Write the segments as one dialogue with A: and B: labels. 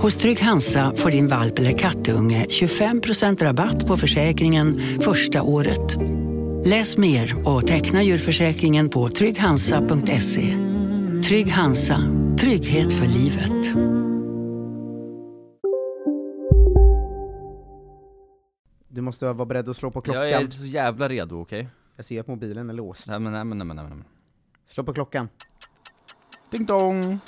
A: Hos Trygg Hansa får din valp eller kattunge 25% rabatt på försäkringen första året. Läs mer och teckna djurförsäkringen på trygghansa.se. Trygg Hansa, trygghet för livet.
B: Du måste vara beredd att slå på klockan.
C: Jag är så jävla redo, okej?
B: Jag ser att mobilen är låst.
C: Nej men nej men nej men nej men
B: Slå på klockan.
C: Ding dong!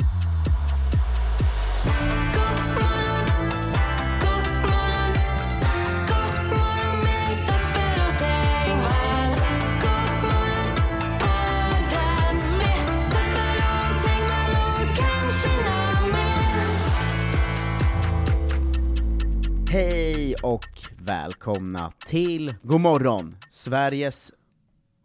B: Hej och välkomna till God morgon, Sveriges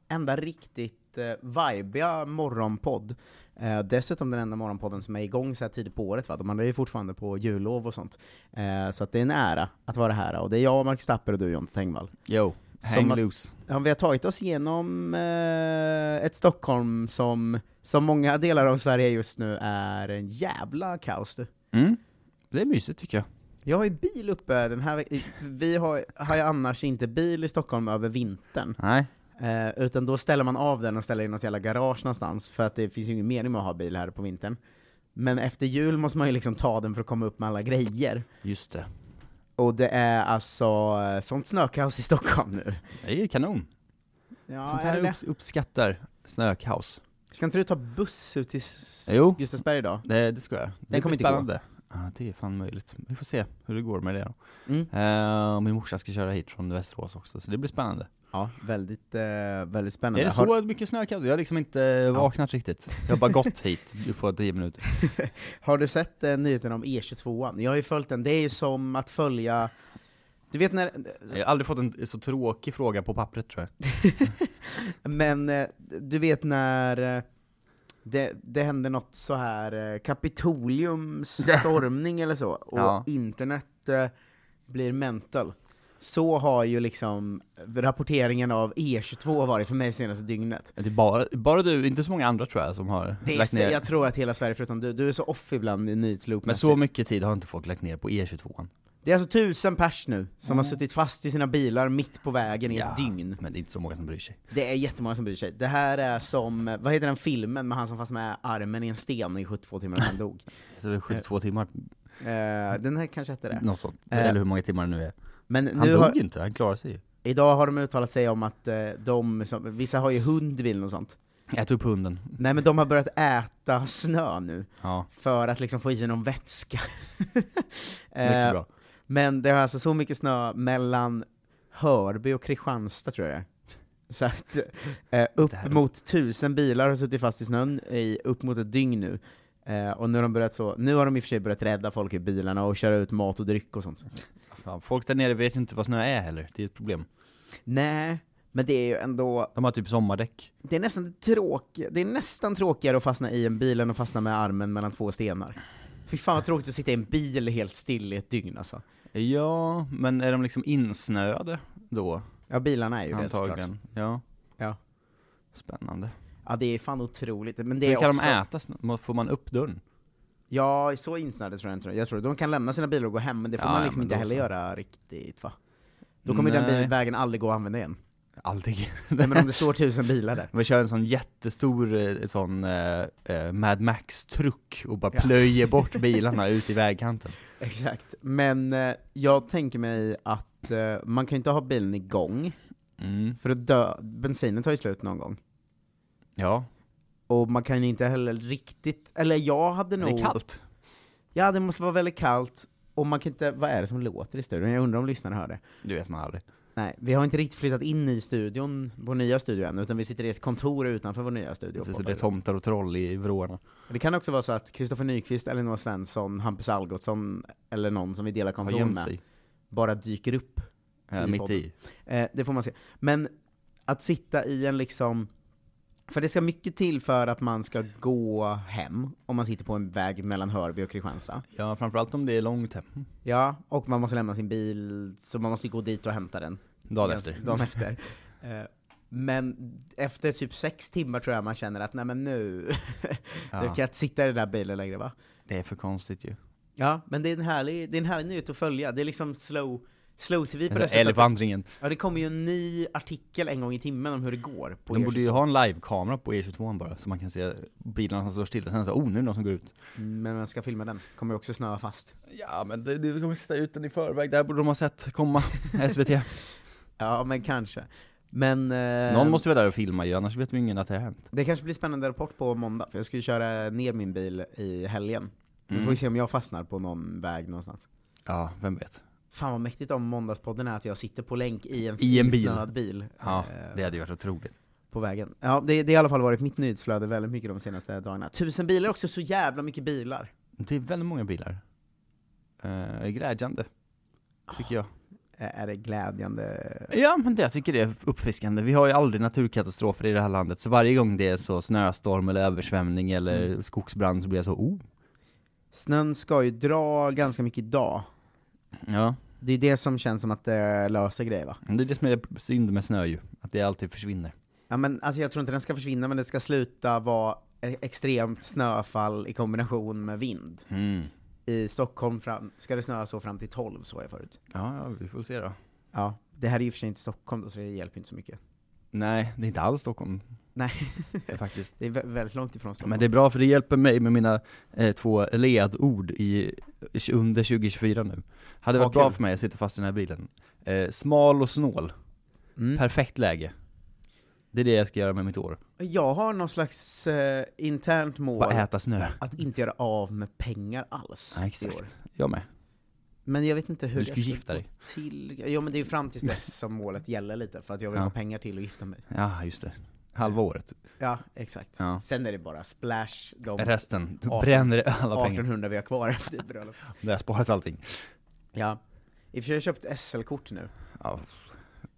B: enda riktigt eh, vibiga morgonpodd. Eh, dessutom den enda morgonpodden som är igång så här tidigt på året va? De andra är ju fortfarande på jullov och sånt. Eh, så att det är en ära att vara här och det är jag, Mark Stapper och du, Jonte Tengvall.
C: Yo,
B: Som
C: hang
B: att-
C: loose.
B: Ja, vi har tagit oss igenom eh, ett Stockholm som, som många delar av Sverige just nu är en jävla kaos du.
C: Mm. Det är mysigt tycker jag.
B: Jag har ju bil uppe den här veck- Vi har, har ju annars inte bil i Stockholm över vintern.
C: Nej.
B: Eh, utan då ställer man av den och ställer in något jävla garage någonstans, för att det finns ju ingen mening med att ha bil här på vintern. Men efter jul måste man ju liksom ta den för att komma upp med alla grejer.
C: Just det.
B: Och det är alltså eh, sånt snökaos i Stockholm nu.
C: Det är ju kanon.
B: Ja,
C: Sånt här
B: är det?
C: upps- uppskattar snökaos.
B: Ska inte du ta buss ut till S-
C: Jo.
B: Gustavsberg idag?
C: Det, det ska jag. Det blir
B: kommer inte gå.
C: spännande. Ja, det är fan möjligt. Vi får se hur det går med det då.
B: Mm.
C: Eh, min morsa ska köra hit från Västerås också, så det blir spännande.
B: Ja, väldigt, eh, väldigt
C: är
B: spännande.
C: det
B: Har-
C: så mycket snökaos? Jag har liksom inte vaknat riktigt. Jag har bara gått hit på 10 minuter.
B: Har du sett eh, nyheten om E22an? Jag har ju följt den, det är ju som att följa... Du vet när...
C: Jag har aldrig fått en så tråkig fråga på pappret tror jag.
B: Men eh, du vet när eh, det, det hände något så här eh, Kapitoliums stormning eller så, och
C: Ja.
B: internet eh, blir mental. Så har ju liksom rapporteringen av E22 varit för mig senaste dygnet.
C: Det är bara, bara du, inte så många andra tror jag som har
B: Det är,
C: lagt
B: så-
C: ner.
B: jag tror att hela Sverige förutom du, du är så off ibland i nyhetsloop
C: Men så mycket tid har inte folk lagt ner på E E22.
B: Det är alltså tusen pers nu som
C: Mm.
B: har suttit fast i sina bilar mitt på vägen i ett dygn.
C: Men det är inte så många som bryr sig.
B: Det är jättemånga som bryr sig. Det här är som, vad heter den filmen med han som fast med armen i en sten i 72 timmar och han dog?
C: Alltså, Det är 72 timmar,
B: Eh, den här kanske hette det.
C: något sånt.
B: Eh,
C: Eller hur många timmar det nu är.
B: Men
C: Mm. Han
B: nu
C: dog
B: har,
C: inte, han klarade sig ju.
B: idag har de uttalat sig om att eh, de, som, vissa har ju hund i bilen och sånt.
C: Ät upp hunden.
B: Nej men de har börjat äta snö nu,
C: Ja,
B: för att liksom få i sig någon vätska.
C: mycket
B: Eh,
C: bra.
B: Men det har alltså så mycket snö mellan Hörby och Kristianstad tror jag det är. Så att eh, upp
C: Det här-
B: mot tusen bilar har suttit fast i snön i upp mot ett dygn nu. Eh, och nu har, de börjat så, nu har de i och för sig börjat rädda folk i bilarna och köra ut mat och dryck och sånt.
C: Fan, folk där nere vet ju inte vad snö är heller, det är ett problem.
B: Nej, men det är ju ändå,
C: De har typ sommardäck.
B: det är nästan tråk, det är nästan tråkigare att fastna i en bil än att fastna med armen mellan två stenar. Fy fan vad tråkigt att sitta i en bil helt still i ett dygn alltså.
C: Ja, men är de liksom insnöade då?
B: Ja bilarna är ju det såklart.
C: Antagligen. Ja.
B: Ja.
C: Spännande.
B: Ja det är fan otroligt, men det är
C: Hur kan
B: också...
C: de äta snö? Må- Får man upp dörren?
B: Ja, så insnöade tror jag inte. Jag tror de kan lämna sina bilar och gå hem, men det får
C: Ja,
B: man
C: ja,
B: liksom
C: men
B: inte
C: då
B: heller
C: så.
B: göra riktigt va? Då kommer ju den
C: Nej.
B: bil- vägen aldrig gå att använda igen.
C: Aldrig.
B: Nej, men om det står tusen bilar där.
C: Man kör en sån jättestor eh, sån eh, eh, Mad Max-truck och bara
B: Ja.
C: plöjer bort bilarna ut i vägkanten.
B: Exakt. Men eh, jag tänker mig att eh, man kan ju inte ha bilen igång,
C: Mm.
B: för att dö, bensinen tar ju slut någon gång.
C: Ja,
B: Och man kan ju inte heller riktigt, eller jag hade
C: men det
B: nog...
C: är kallt.
B: Ja, det måste vara väldigt kallt, och man kan inte, vad är det som låter i studion? Jag undrar om lyssnarna hör det.
C: Du vet man aldrig.
B: Nej, vi har inte riktigt flyttat in i studion, vår nya studio än, utan vi sitter i ett kontor utanför vår nya studio.
C: Precis,
B: och
C: så det är
B: poddar.
C: tomtar och troll i vrårna.
B: det kan också vara så att Kristoffer Nyqvist, Elinor Svensson, Hampus Algotsson eller någon som vi delar
C: Har
B: kontor
C: gömt
B: med,
C: sig.
B: bara dyker upp.
C: Ja,
B: i
C: mitt
B: podden.
C: i.
B: Eh, det får man se. Men att sitta i en liksom, för det ska mycket till för att man ska gå hem, om man sitter på en väg mellan Hörby och Kristianstad.
C: Ja, framförallt om det är långt hem.
B: Ja, och man måste lämna sin bil, så man måste gå dit och hämta den.
C: Dagen efter.
B: Dagen efter. Eh, Men efter typ sex timmar tror jag man känner att nej men nu,
C: Ja.
B: du kan inte sitta i den där bilen längre va?
C: Det är för konstigt ju.
B: Ja, men det är en härlig, det är en härlig nyhet att följa. Det är liksom slow, slow TV
C: Alltså,
B: på det sättet. att-
C: Älgvandringen.
B: Ja, det kommer ju en ny artikel en gång i timmen om hur det går. På
C: De
B: E22.
C: borde ju ha en live-kamera på E22 bara, så man kan se bilarna som står stilla, sen så, oh nu är det någon som går ut.
B: Men vem ska filma den? Kommer ju också snöa fast.
C: Ja men det, det kommer sitta ut den i förväg, det här borde de ha sett komma, Ehm. SVT.
B: Ja, men kanske. Men... eh,
C: Någon måste vara där och filma ju, annars vet vi ingen att det har hänt.
B: Det kanske blir spännande rapport på måndag, för jag ska ju köra ner min bil i helgen. Så vi får vi se om jag fastnar på någon väg någonstans.
C: Mm. Ja, vem vet.
B: Fan vad mäktigt om måndagspodden är att jag sitter på länk i en,
C: I en bil.
B: snöad bil
C: Ja,
B: eh,
C: det hade ju varit otroligt.
B: på vägen. Ja, det, det har i alla fall varit mitt nyhetsflöde väldigt mycket de senaste dagarna. Tusen bilar också, så jävla mycket bilar.
C: Det är väldigt många bilar. Eh, glädjande. Tycker jag.
B: Eh, Är det glädjande?
C: Ja men det, jag tycker det är uppfriskande. Vi har ju aldrig naturkatastrofer i det här landet, så varje gång det är så snöstorm eller översvämning eller skogsbrand så blir jag så, oh.
B: Snön ska ju dra ganska mycket idag.
C: Ja.
B: Det är det som känns som att det löser grejer va?
C: Men Det är det som är synd med snö ju, att det alltid försvinner.
B: Ja men alltså jag tror inte den ska försvinna, men det ska sluta vara e- extremt snöfall i kombination med vind.
C: Mm.
B: I Stockholm fram, ska det snöa så fram till 12, så var jag förut.
C: Ja, ja, vi får se då.
B: Ja, det här är ju för sig inte Stockholm då, så det hjälper inte så mycket.
C: Nej, det är inte alls Stockholm
B: Nej,
C: faktiskt.
B: det är vä- väldigt långt ifrån Stockholm.
C: Men det är bra för det hjälper mig med mina eh, två ledord i, under 2024 nu. Hade
B: Ja,
C: varit bra
B: kul.
C: för mig att sitta fast i den här bilen. Eh, smal och snål,
B: Mm.
C: perfekt läge. Det är det jag ska göra med mitt år.
B: Jag har någon slags eh, internt mål
C: Bara äta snö.
B: att inte göra av med pengar alls
C: Ja,
B: i år.
C: exakt. Jag med.
B: Men jag vet inte hur
C: Du ska
B: jag ska
C: gifta
B: gå
C: dig.
B: till... Ja men det är ju fram tills dess som målet gäller lite, för att jag vill
C: Ja.
B: ha pengar till att gifta mig.
C: Ja, just det. Halva året.
B: Ja, exakt.
C: Ja.
B: Sen är det bara splash, de
C: Resten, du
B: Arton-
C: bränner alla pengar.
B: 1800 vi har kvar efter ett bröllop.
C: Det har jag sparat allting.
B: Ja. I och för sig har jag köpt SL-kort nu.
C: Ja,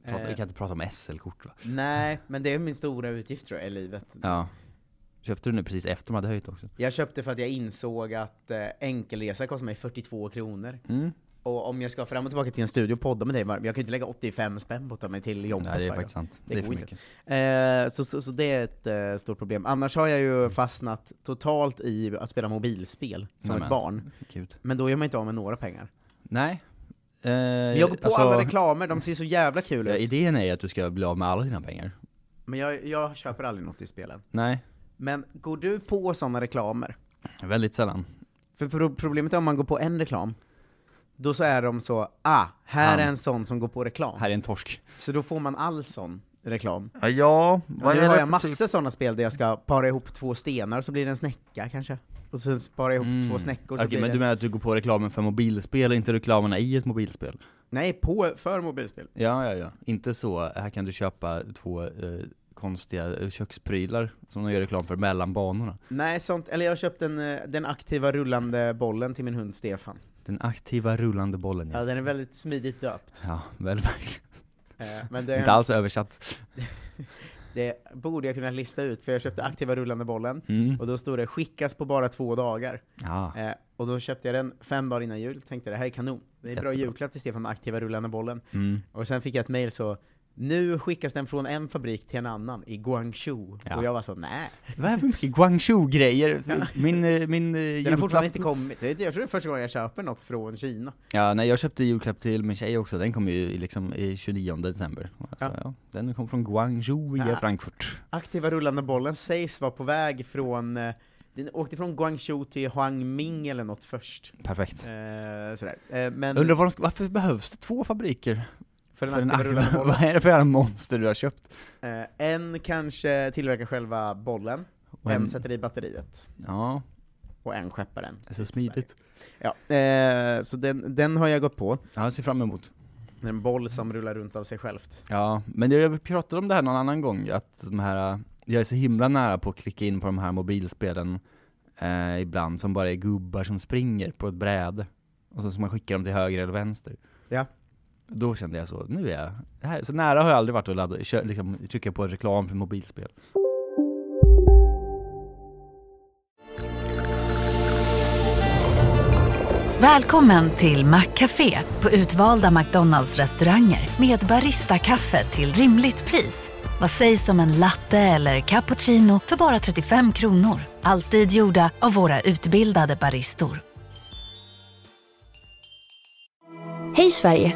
C: prata, vi
B: Eh.
C: kan inte prata om SL-kort va?
B: Nej, men det är min stora utgift tror jag i livet.
C: Ja. Köpte du nu precis efter de hade höjt också?
B: Jag köpte för att jag insåg att eh, enkelresa kostar mig 42 kronor. Och om jag ska fram och tillbaka till en studio och podda med dig, var- jag kan ju inte lägga 85 spänn på att ta mig till jobbet
C: Nej det
B: varje
C: är
B: dag.
C: faktiskt sant.
B: Det
C: Det, är för
B: går
C: mycket.
B: Eh, så, så, så det är ett eh, stort problem. Annars har jag ju
C: Mm.
B: fastnat totalt i att spela mobilspel som
C: Nämen.
B: ett barn.
C: Gud.
B: Men då gör man inte av med några pengar.
C: Nej. Eh,
B: Men jag går på alla reklamer, de ser så jävla kul
C: ja,
B: ut.
C: Idén är ju att du ska bli av med alla dina pengar.
B: Men jag, jag köper aldrig något i spelen.
C: Nej,
B: Men går du på sådana reklamer?
C: väldigt sällan.
B: För, för problemet är om man går på en reklam, då så är de så ah, här är en sån som går på reklam.
C: Här är en torsk.
B: Så då får man all sån reklam.
C: Ja, ja
B: Och nu har jag
C: typ-
B: massor sådana spel där jag ska para ihop två stenar så blir det en snäcka kanske. Och sen para ihop två snäckor så
C: Mm. Okej,
B: blir
C: men
B: det...
C: du menar att du går på reklamen för mobilspel och inte reklamerna i ett mobilspel?
B: Nej, på, för mobilspel.
C: Ja, ja, ja. Inte så, här kan du köpa två eh, konstiga eh, köksprylar som de gör reklam för mellan banorna.
B: Nej, sånt. Eller jag köpte den, eh, den aktiva rullande bollen till min hund Stefan.
C: Den aktiva rullande bollen
B: Ja,
C: ja.
B: den är väldigt smidigt döpt.
C: Ja, väl verkligen.
B: Eh, Men det,
C: Inte alls översatt.
B: det borde jag kunna lista ut, för jag köpte aktiva rullande bollen,
C: Mm.
B: och då stod det 'skickas på bara två dagar'
C: Ja.
B: Eh, och då köpte jag den fem dagar innan jul, tänkte det här är kanon. Det är bra
C: Jättebra.
B: julklapp till Stefan med aktiva rullande bollen.
C: Mm.
B: Och sen fick jag ett mail så, nu skickas den från en fabrik till en annan i Guangzhou.
C: Ja.
B: Och jag var så, nej.
C: Vad är det för mycket Guangzhou-grejer? Min, eh, min eh,
B: Den har
C: julklapp-
B: fortfarande inte kommit. Det är- Jag tror det är första gången jag köper något från Kina.
C: Ja, nej jag köpte julklapp till min tjej också, den kom ju i liksom i 29 december alltså,
B: Ja.
C: ja. Den kom från Guangzhou i
B: Ja.
C: Frankfurt
B: Aktiva rullande bollen sägs vara på väg från, eh, den åkte från Guangzhou till Huangming eller något först.
C: Perfekt
B: Eh, sådär. Eh, men
C: Undrar vad de ska, varför behövs det två fabriker?
B: för den
C: För en
B: aktiva rullande
C: aktiva,
B: bollen.
C: vad är det för jävla monster du har köpt?
B: Eh, en kanske tillverkar själva bollen,
C: Och
B: en
C: en-
B: sätter i batteriet,
C: Ja,
B: och en skeppar den.
C: det är så
B: till Sverige.
C: smidigt
B: Ja, eh, så den, den har jag gått på.
C: Ja, jag ser fram emot
B: En boll som rullar runt av sig självt.
C: Ja, men jag pratade om det här någon annan gång, att de här, jag är så himla nära på att klicka in på de här mobilspelen eh, ibland, som bara är gubbar som springer på ett bräde, och så ska man skicka dem till höger eller vänster.
B: Ja.
C: Då kände jag så, nu är jag, det här, så nära har jag aldrig varit att ladda, kö, liksom, trycka på reklam för mobilspel.
D: Välkommen till Maccafé på utvalda McDonalds restauranger med Baristakaffe till rimligt pris. Vad sägs om en latte eller cappuccino för bara 35 kronor? Alltid gjorda av våra utbildade baristor.
E: Hej Sverige!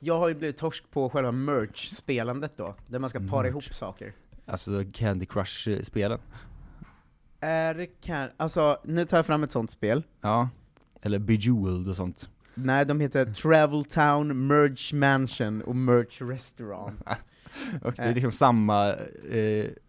B: Jag har ju blivit torsk på själva merch-spelandet då, där man ska para ihop saker.
C: Alltså Candy Crush-spelen.
B: Är kan, alltså nu tar jag fram ett sånt spel.
C: Ja. Eller Bejeweled och sånt.
B: Nej, de heter Travel Town, Merge Mansion och Merge Restaurant.
C: Och det är liksom samma eh,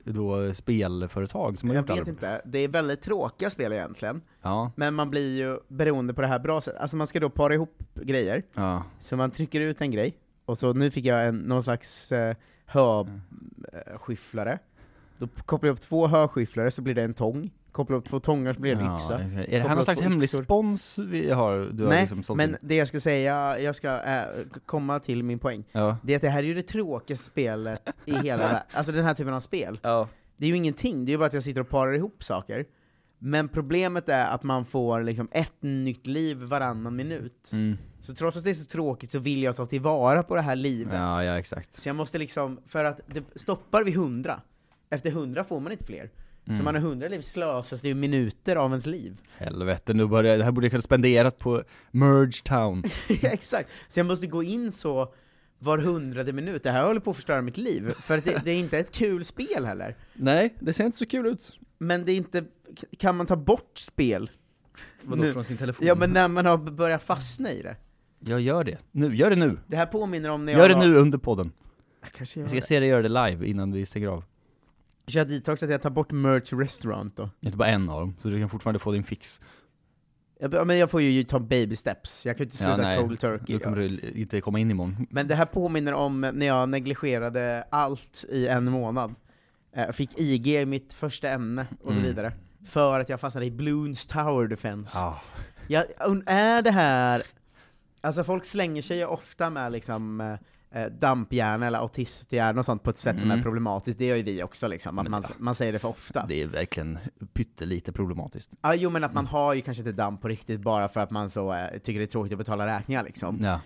C: då spelföretag som har
B: Jag
C: gjort alla
B: vet
C: de-
B: inte, det är väldigt tråkiga spel egentligen,
C: Ja,
B: men man blir ju beroende på det här bra sättet. Alltså man ska då para ihop grejer,
C: ja.
B: så man trycker ut en grej, och så nu fick jag en, någon slags eh, höskyfflare. Då kopplar jag upp två höskyfflare så blir det en tång, kopplar upp två tångar så blir det en
C: Ja,
B: yxa.
C: okej. Är det här
B: Kopplat
C: någon slags
B: på
C: hemlig
B: yxor.
C: spons vi har? Du har
B: Nej,
C: liksom sålt
B: men
C: in?
B: det jag ska säga, jag ska eh, komma till min poäng,
C: Ja.
B: det är att det här är ju det tråkigaste spelet i hela världen, alltså den här typen av spel.
C: Ja.
B: Det är ju ingenting, det är ju bara att jag sitter och parar ihop saker. Men problemet är att man får liksom ett nytt liv varannan minut.
C: Mm.
B: Så trots att det är så tråkigt så vill jag ta tillvara på det här livet.
C: ja, ja exakt.
B: Så jag måste liksom, för att det stoppar vid hundra, efter hundra får man inte fler.
C: Mm.
B: Så man har hundra liv slösas det ju minuter av ens liv.
C: Helvete, nu börjar, det här borde jag kunna spenderat på Merge Town.
B: Exakt! Så jag måste gå in så var hundrade minut, det här håller på att förstöra mitt liv. För att det, det är inte ett kul spel heller.
C: Nej, det ser inte så kul ut.
B: Men det är inte, kan man ta bort spel?
C: Vadå
B: Nu-
C: från sin telefon?
B: Ja men när man har börjat fastna i det.
C: Jag gör det. Nu, gör det nu.
B: Det här påminner om när jag
C: Gör det
B: var-
C: nu under podden.
B: Jag Kanske
C: Jag
B: jag
C: ska se dig göra det live innan vi stänger av.
B: Kör detox att jag tar bort merch restaurant då.
C: Inte bara en av dem, så du kan fortfarande få din fix.
B: Jag, ja, men jag får ju ta baby steps, jag kan ju inte
C: Ja,
B: sluta
C: nej.
B: cold turkey.
C: Då kommer du inte komma in imorgon.
B: Men det här påminner om när jag negligerade allt i en månad. Eh, Fick IG i mitt första ämne och så
C: Mm.
B: vidare. För att jag fastnade i Bloons Tower Defense.
C: Ah.
B: Jag, und- är det här... Alltså folk slänger sig ju ofta med liksom eh, eh, damphjärna eller autisthjärna och sånt på ett sätt som
C: Mm.
B: är problematiskt, det gör ju vi också liksom, att man, man säger det för ofta.
C: Det Mm. är verkligen pyttelite problematiskt.
B: Ja, jo men att man har ju kanske inte damp på riktigt bara för att man så eh, tycker det är tråkigt att betala räkningar liksom.
C: Ja.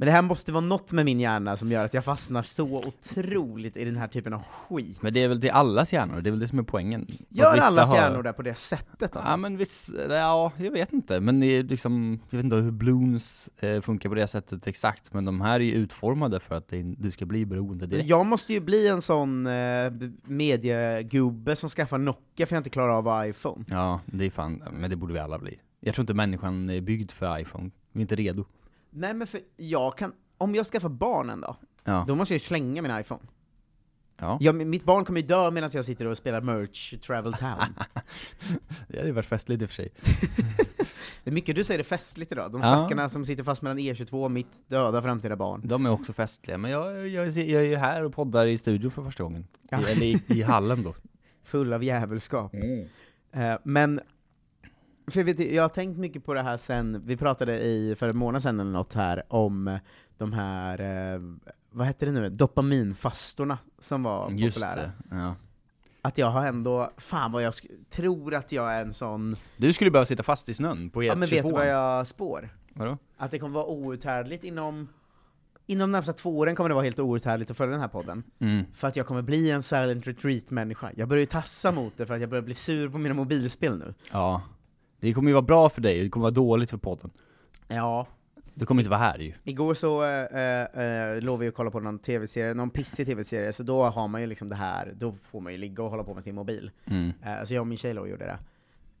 B: Men det här måste vara något med min hjärna som gör att jag fastnar så otroligt i den här typen av skit.
C: Men det är väl till allas hjärnor, det är väl det som är poängen. Att
B: Gör
C: vissa
B: allas
C: har-
B: hjärnor det på det sättet alltså?
C: Ja men visst, ja jag vet inte, men det är liksom, jag vet inte hur Bloons eh, funkar på det sättet exakt, men de här är ju utformade för att det, du ska bli beroende direkt.
B: Jag måste ju bli en sån eh, b- mediegubbe som skaffar Nokia för jag inte klarar av iPhone.
C: Ja, det är fan, men det borde vi alla bli. Jag tror inte människan är byggd för iPhone, vi är inte redo.
B: Nej men för jag kan, om jag skaffar barn en dag,
C: Ja.
B: då måste jag ju slänga min iPhone.
C: Ja,
B: Jag, mitt barn kommer ju dö medan jag sitter och spelar merch, Travel Town.
C: det hade varit festligt i och för sig.
B: Det är mycket du säger är festligt idag, de
C: Ja.
B: stackarna som sitter fast mellan E22 och mitt döda framtida barn.
C: De är också festliga, men jag, jag, jag är ju här och poddar i studion för första gången.
B: Ja.
C: I, eller i, i hallen då.
B: Full av djävulskap. Eh, men, för jag, vet, ju, jag har tänkt mycket på det här sen, vi pratade i, för en månad sen eller något här, om eh, de här, eh, vad hette det nu, dopaminfastorna som var
C: Just
B: populära.
C: det. Ja.
B: Att jag har ändå, fan vad jag sk- tror att jag är en sån,
C: Du skulle behöva sitta fast i snön på E22.
B: ja men vet du vad jag spår?
C: Vadå?
B: Att det kommer vara outhärdligt inom, inom de närmsta två åren kommer det vara helt outhärdligt att följa den här podden.
C: Mm.
B: För att jag kommer bli en silent retreat-människa. Jag börjar ju tassa mot det för att jag börjar bli sur på mina mobilspel nu.
C: Ja. Det kommer ju vara bra för dig, det kommer vara dåligt för podden.
B: Ja.
C: Du kommer inte vara här ju.
B: Igår så eh, eh, låg vi och kollade på någon tv-serie, någon pissig tv-serie, så då har man ju liksom det här, då får man ju ligga och hålla på med sin mobil. Eh, så jag och min tjej låg och gjorde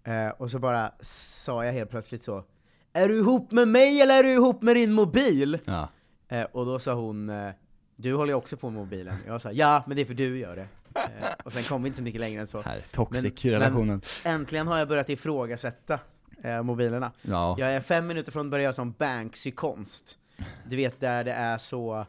B: det. Eh, och så bara sa jag helt plötsligt så, Är du ihop med mig eller är du ihop med din mobil?
C: Ja.
B: Eh, och då sa hon, eh, du håller ju också på med mobilen. Jag sa, ja men det är för du gör det. Eh, och sen kom vi inte så mycket längre än så.
C: Här, toxic relationen.
B: Men äntligen har jag börjat ifrågasätta eh, mobilerna.
C: Ja.
B: Jag är fem minuter från att börja som Banksy-konst. Du vet där det är så,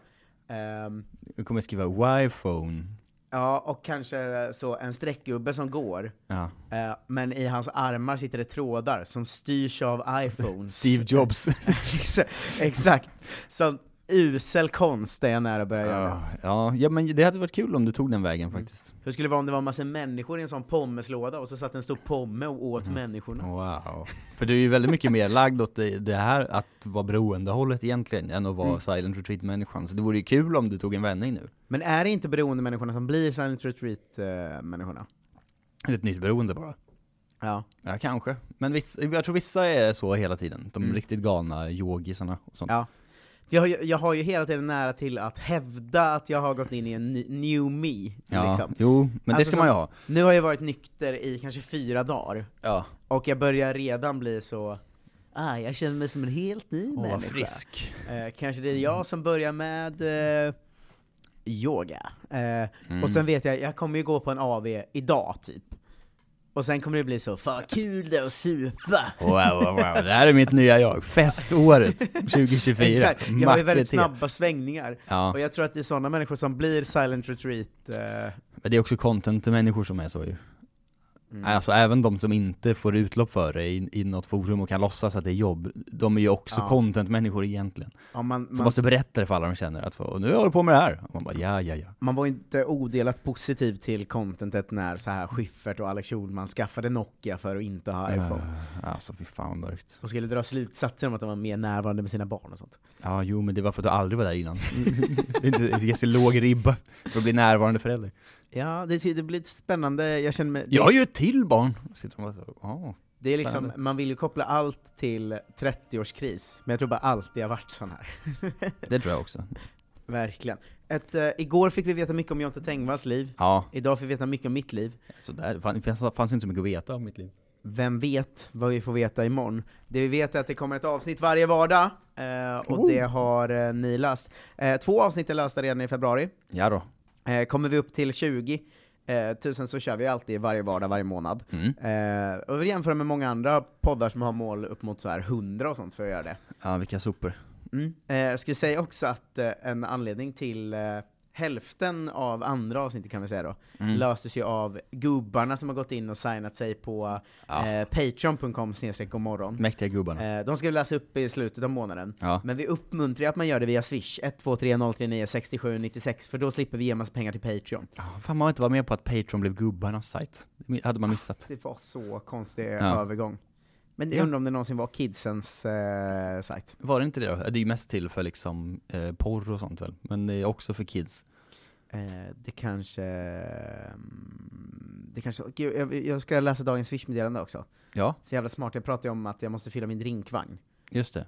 B: ehm,
C: Du kommer skriva Y-phone.
B: ja och kanske så en streckgubbe som går.
C: Ja.
B: Eh, men i hans armar sitter det trådar som styrs av iPhones.
C: Steve Jobs.
B: Exa- Exakt. Sån usel konst är jag nära att börja göra.
C: ja, ja, ja, men det hade varit kul om du tog den vägen
B: Mm.
C: faktiskt.
B: Hur skulle det vara om det var en massa människor i en sån pommeslåda och så satt en stor pomme och åt människorna?
C: Wow. För du är ju väldigt mycket mer lagd åt det, det här att vara beroendehållet egentligen, än att vara
B: Mm.
C: silent retreat-människan. Så det vore ju kul om du tog en vändning nu.
B: Men är det inte beroende människorna som blir silent retreat-människorna?
C: Ett nytt beroende bara.
B: Ja.
C: Ja, kanske. Men vissa, jag tror vissa är så hela tiden. De riktigt galna yogisarna och sånt.
B: Mm. ja. Jag har, ju, jag har ju hela tiden nära till att hävda att jag har gått in i en ny- new me.
C: Ja,
B: Liksom.
C: jo, men det
B: Alltså
C: ska man ju
B: som-
C: ha.
B: Nu har jag varit nykter i kanske fyra dagar,
C: Ja.
B: och jag börjar redan bli så Ah, jag känner mig som en helt ny människa. Eh, kanske det är
C: Mm.
B: jag som börjar med eh, yoga. Eh, Och
C: Mm.
B: sen vet jag, jag kommer ju gå på en AV idag typ. Och sen kommer det bli så, fan vad kul det är att supa!
C: Wow, wow, wow. Det här är mitt nya jag. Feståret 2024.
B: Exakt, jag har ju väldigt
C: Macke T.
B: snabba svängningar.
C: Ja.
B: Och jag tror att det är sådana människor som blir silent retreat. Eh,
C: Men det är också content-människor som är så ju.
B: Mm.
C: Alltså även de som inte får utlopp för det i, i något forum och kan låtsas att det är jobb, de är ju också
B: Ja.
C: content-människor egentligen.
B: ja, man,
C: Som
B: man,
C: måste berätta det för alla de känner att "Och nu håller jag på med det här. Och man bara ja, ja, ja.
B: man var ju inte odelat positiv till contentet när så här Schyffert och Alex Schulman skaffade Nokia för att inte ha iPhone.
C: Eh, Alltså fy fan vad mörkt.
B: Och skulle dra slutsatser om att de var mer närvarande med sina barn och sånt.
C: Ja, jo men det var för att du aldrig var där innan. det är inte det är så låg ribba för att bli närvarande förälder.
B: Ja, det, ser- det blir lite spännande, jag känner mig...
C: Jag har ju ett till barn! Sitter de och bara så, "Ja."
B: Det är liksom,
C: Spännande.
B: man vill ju koppla allt till 30-årskris, men jag tror bara alltid har varit sån här.
C: det tror jag också.
B: Verkligen. Ett, eh, igår fick vi veta mycket om Jonte Tengvalls liv,
C: Ja,
B: idag fick vi veta mycket om mitt liv.
C: så där, fan, det fanns- fanns inte så mycket att veta om mitt liv.
B: Vem vet vad vi får veta imorgon? Det vi vet är att det kommer ett avsnitt varje vardag, eh, och det har eh, ni läst. Eh, två avsnitt är lösta redan i februari.
C: Ja då.
B: Eh, kommer vi upp till 20 eh, tusen så kör vi alltid varje vardag, varje månad.
C: Mm.
B: Eh, och vi jämför med många andra poddar som har mål upp mot så här 100 och sånt för att göra det.
C: Ja, vilka sopor.
B: Mm. Eh, jag skulle säga också att eh, en anledning till eh, hälften av andra avsnittet kan vi säga då, löstes ju av gubbarna som har gått in och signat sig på
C: Ja.
B: eh, patreon.com snedstreck godmorgon.
C: Mäktiga gubbarna.
B: Eh, de ska vi läsa upp i slutet av månaden.
C: Ja.
B: Men vi uppmuntrar ju att man gör det via swish, 123 039 67 96, för då slipper vi ge massa pengar till Patreon.
C: Ja, Fan, man har inte varit med på att Patreon blev gubbarnas sajt. Det hade man missat.
B: Det var så konstig
C: Ja.
B: övergång. Men jag
C: Ja.
B: undrar om det någonsin var kidsens eh, sajt.
C: Var det inte det då? Det är ju mest till för liksom eh, porr och sånt väl? Men det är också för kids.
B: Eh, det kanske... mm, Det kanske gud, jag, jag ska läsa dagens swishmeddelande också.
C: Ja,
B: Så jävla smart, jag pratade ju om att jag måste fylla min drinkvagn.
C: just det.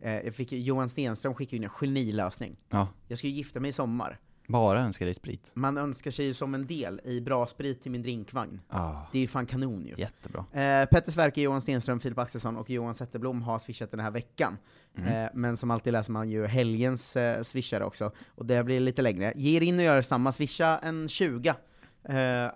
B: Eh, jag fick, ju- Johan Stenström skickade in en genilösning.
C: Ja.
B: Jag ska ju gifta mig i sommar.
C: Bara önska dig sprit.
B: Man önskar sig ju som en del i bra sprit till min drinkvagn.
C: Ah,
B: Det är ju fan kanon ju.
C: jättebra.
B: Eh, Petter Sverker, Johan Stenström, Filip Axelsson och Johan Zetterblom har swishat den här veckan.
C: Mm.
B: Eh, men som alltid läser man ju helgens eh, swishare också, och det blir lite längre. Ge er in och gör samma, swisha en 20 eh,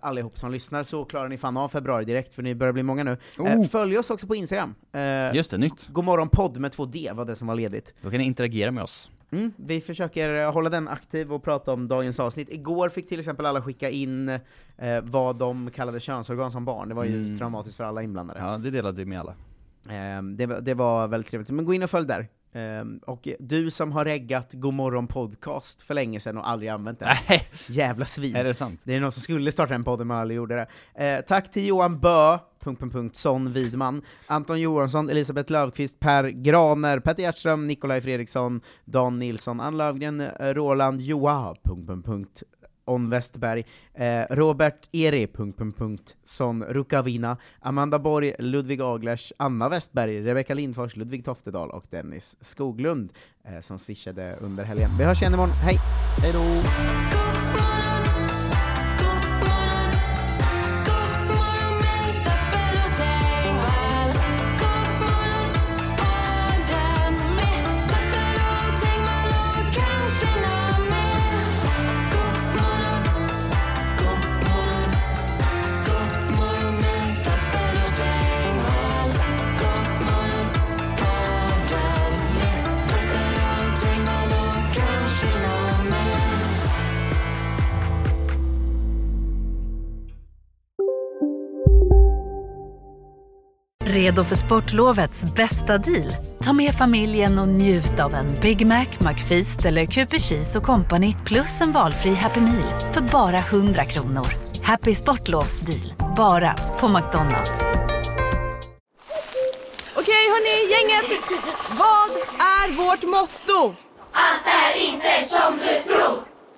B: allihop som lyssnar, så klarar ni fan av februari direkt, för ni börjar bli många nu. Eh,
C: Oh.
B: följ oss också på Instagram. Eh,
C: Just det, nytt.
B: Godmorgon podd med två D var det som var ledigt.
C: Då kan ni interagera med oss.
B: Mm, vi försöker eh, hålla den aktiv och prata om dagens avsnitt. Igår fick till exempel alla skicka in eh, vad de kallade könsorgan som barn, det var
C: Mm.
B: ju traumatiskt för alla inblandade.
C: Ja, det delade vi med alla.
B: Ehm, det, var- det var väldigt trevligt, men gå in och följ där. Ehm, och du som har reggat Godmorgon podcast för länge sedan och aldrig använt den.
C: Nej,
B: Jävla svin.
C: är det sant?
B: Det är någon som skulle starta en podd men aldrig gjorde det. Eh, tack till Johan Bö, punkt, punkt, punkt, Son Widman, Anton Johansson, Elisabeth Löfqvist, Per Graner, Petter Hjertström, Nikolaj Fredriksson, Dan Nilsson, Ann Löfgren, eh, Roland, Joa, punkt, punkt, punkt, on Westberg, eh, Robert Eri... Punkt, punkt, punkt, Son Rukavina, Amanda Borg, Ludvig Aglers, Anna Westberg, Rebecka Lindfors, Ludvig Toftedal och Dennis Skoglund eh, som swishade under helgen. Vi hörs igen imorgon, hej!
C: Hejdå!
D: Redo för sportlovets bästa deal? Ta med familjen och njut av en Big Mac, McFeast eller Cooper Cheese och Company plus en valfri Happy Meal för bara 100 kronor. Happy Sportlovs deal, bara på McDonalds.
F: Okej hörni, gänget! Vad är vårt motto?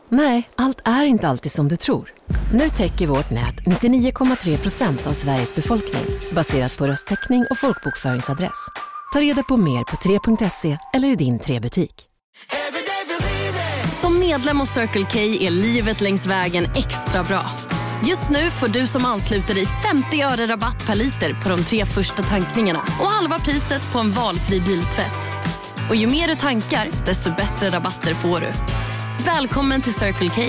G: Nej, allt är inte alltid som du tror. Nu täcker vårt nät 99,3 procent av Sveriges befolkning baserat på röstteckning och folkbokföringsadress. Ta reda på mer på 3.se eller i din 3-butik.
H: Som medlem hos Circle K är livet längs vägen extra bra. Just nu får du som ansluter dig 50 öre rabatt per liter på de tre första tankningarna och halva priset på en valfri biltvätt. Och ju mer du tankar, desto bättre rabatter får du. Välkommen till Circle K.